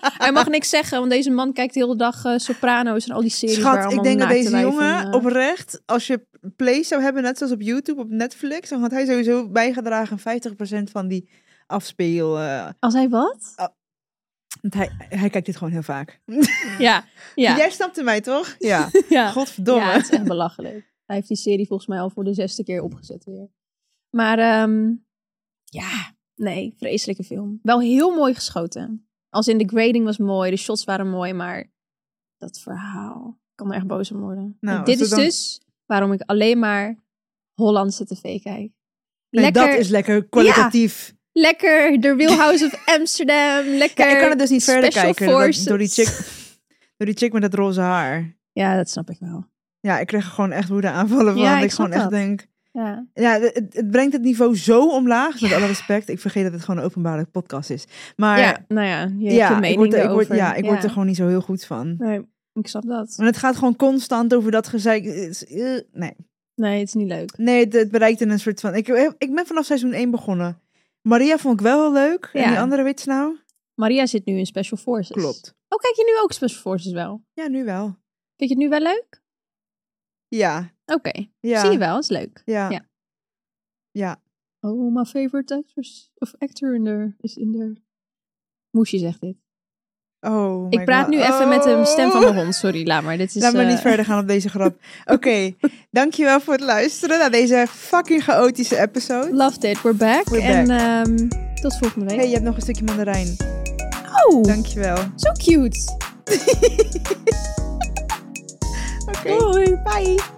[SPEAKER 3] Hij mag niks zeggen, want deze man kijkt de hele dag eh, Soprano's en al die series waar
[SPEAKER 1] Schat,
[SPEAKER 3] allemaal
[SPEAKER 1] ik denk dat
[SPEAKER 3] naakte
[SPEAKER 1] deze
[SPEAKER 3] wijven,
[SPEAKER 1] jongen
[SPEAKER 3] eh,
[SPEAKER 1] oprecht, als je play zou hebben, net zoals op YouTube, op Netflix, dan had hij sowieso bijgedragen aan 50% van die afspeel. eh,
[SPEAKER 3] Als hij wat?
[SPEAKER 1] want hij, hij kijkt dit gewoon heel vaak.
[SPEAKER 3] Ja, ja,
[SPEAKER 1] Jij snapte mij toch? Ja.
[SPEAKER 3] ja.
[SPEAKER 1] Godverdomme.
[SPEAKER 3] Ja, het is echt belachelijk. Hij heeft die serie volgens mij al voor de zesde keer opgezet weer. Maar ehm, ja, nee, vreselijke film. Wel heel mooi geschoten. Als in de grading was mooi, de shots waren mooi, maar dat verhaal ik kan er echt boos om worden.
[SPEAKER 1] Nou,
[SPEAKER 3] En dit
[SPEAKER 1] als we
[SPEAKER 3] is
[SPEAKER 1] dan-
[SPEAKER 3] dus waarom ik alleen maar Hollandse tv kijk.
[SPEAKER 1] Nee,
[SPEAKER 3] Lekker,
[SPEAKER 1] dat is lekker kwalitatief.
[SPEAKER 3] lekker de Real House of Amsterdam, lekker
[SPEAKER 1] Kijk, ik kan het dus niet verder
[SPEAKER 3] Special
[SPEAKER 1] kijken door-
[SPEAKER 3] Forces.
[SPEAKER 1] door die chick. Door die chick met dat roze haar.
[SPEAKER 3] Ja, dat snap ik wel.
[SPEAKER 1] Ja, ik kreeg er gewoon echt woede aanvallen van.
[SPEAKER 3] Ja,
[SPEAKER 1] dat
[SPEAKER 3] ik
[SPEAKER 1] ik gewoon
[SPEAKER 3] snap
[SPEAKER 1] echt
[SPEAKER 3] dat.
[SPEAKER 1] denk.
[SPEAKER 3] Ja.
[SPEAKER 1] Ja, het, het brengt het niveau zo omlaag. Met alle respect. Ik vergeet dat het gewoon een openbare podcast is. Maar
[SPEAKER 3] ja, nou ja, je hebt je
[SPEAKER 1] ja,
[SPEAKER 3] mening
[SPEAKER 1] ik word, ik word,
[SPEAKER 3] erover.
[SPEAKER 1] ja, ik word er gewoon niet zo heel goed van.
[SPEAKER 3] Nee, ik snap dat.
[SPEAKER 1] Want het gaat gewoon constant over dat gezeik. Het is- eh, Nee,
[SPEAKER 3] Nee, het is niet leuk.
[SPEAKER 1] nee het, het bereikte een soort van... Ik, eh, ik ben vanaf seizoen 1 begonnen. Maria vond ik wel heel leuk. En
[SPEAKER 3] Ja.
[SPEAKER 1] die andere weet ze nou?
[SPEAKER 3] Maria zit nu in Special Forces.
[SPEAKER 1] Klopt.
[SPEAKER 3] Oh, kijk je nu ook Special Forces wel?
[SPEAKER 1] Ja, nu wel.
[SPEAKER 3] Vind je het nu wel leuk?
[SPEAKER 1] Ja.
[SPEAKER 3] Oké,
[SPEAKER 1] Ja.
[SPEAKER 3] zie je wel, is leuk.
[SPEAKER 1] Ja.
[SPEAKER 3] Ja.
[SPEAKER 1] Ja.
[SPEAKER 3] Oh, my favorite actress of actor in there is in there. Moesje zegt dit.
[SPEAKER 1] Oh my
[SPEAKER 3] ik praat
[SPEAKER 1] God.
[SPEAKER 3] nu even met de stem van
[SPEAKER 1] Oh.
[SPEAKER 3] mijn hond. Sorry, laat maar. Dit is,
[SPEAKER 1] Laat me
[SPEAKER 3] eh,
[SPEAKER 1] niet verder gaan op deze grap. Oké, dankjewel voor het luisteren naar deze fucking chaotische episode.
[SPEAKER 3] Loved it, we're back.
[SPEAKER 1] We're
[SPEAKER 3] en ehm, tot volgende week.
[SPEAKER 1] Nee, je hebt nog een stukje mandarijn.
[SPEAKER 3] Oh,
[SPEAKER 1] Dankjewel.
[SPEAKER 3] zo cute.
[SPEAKER 1] Oké,
[SPEAKER 3] Doei.
[SPEAKER 1] bye.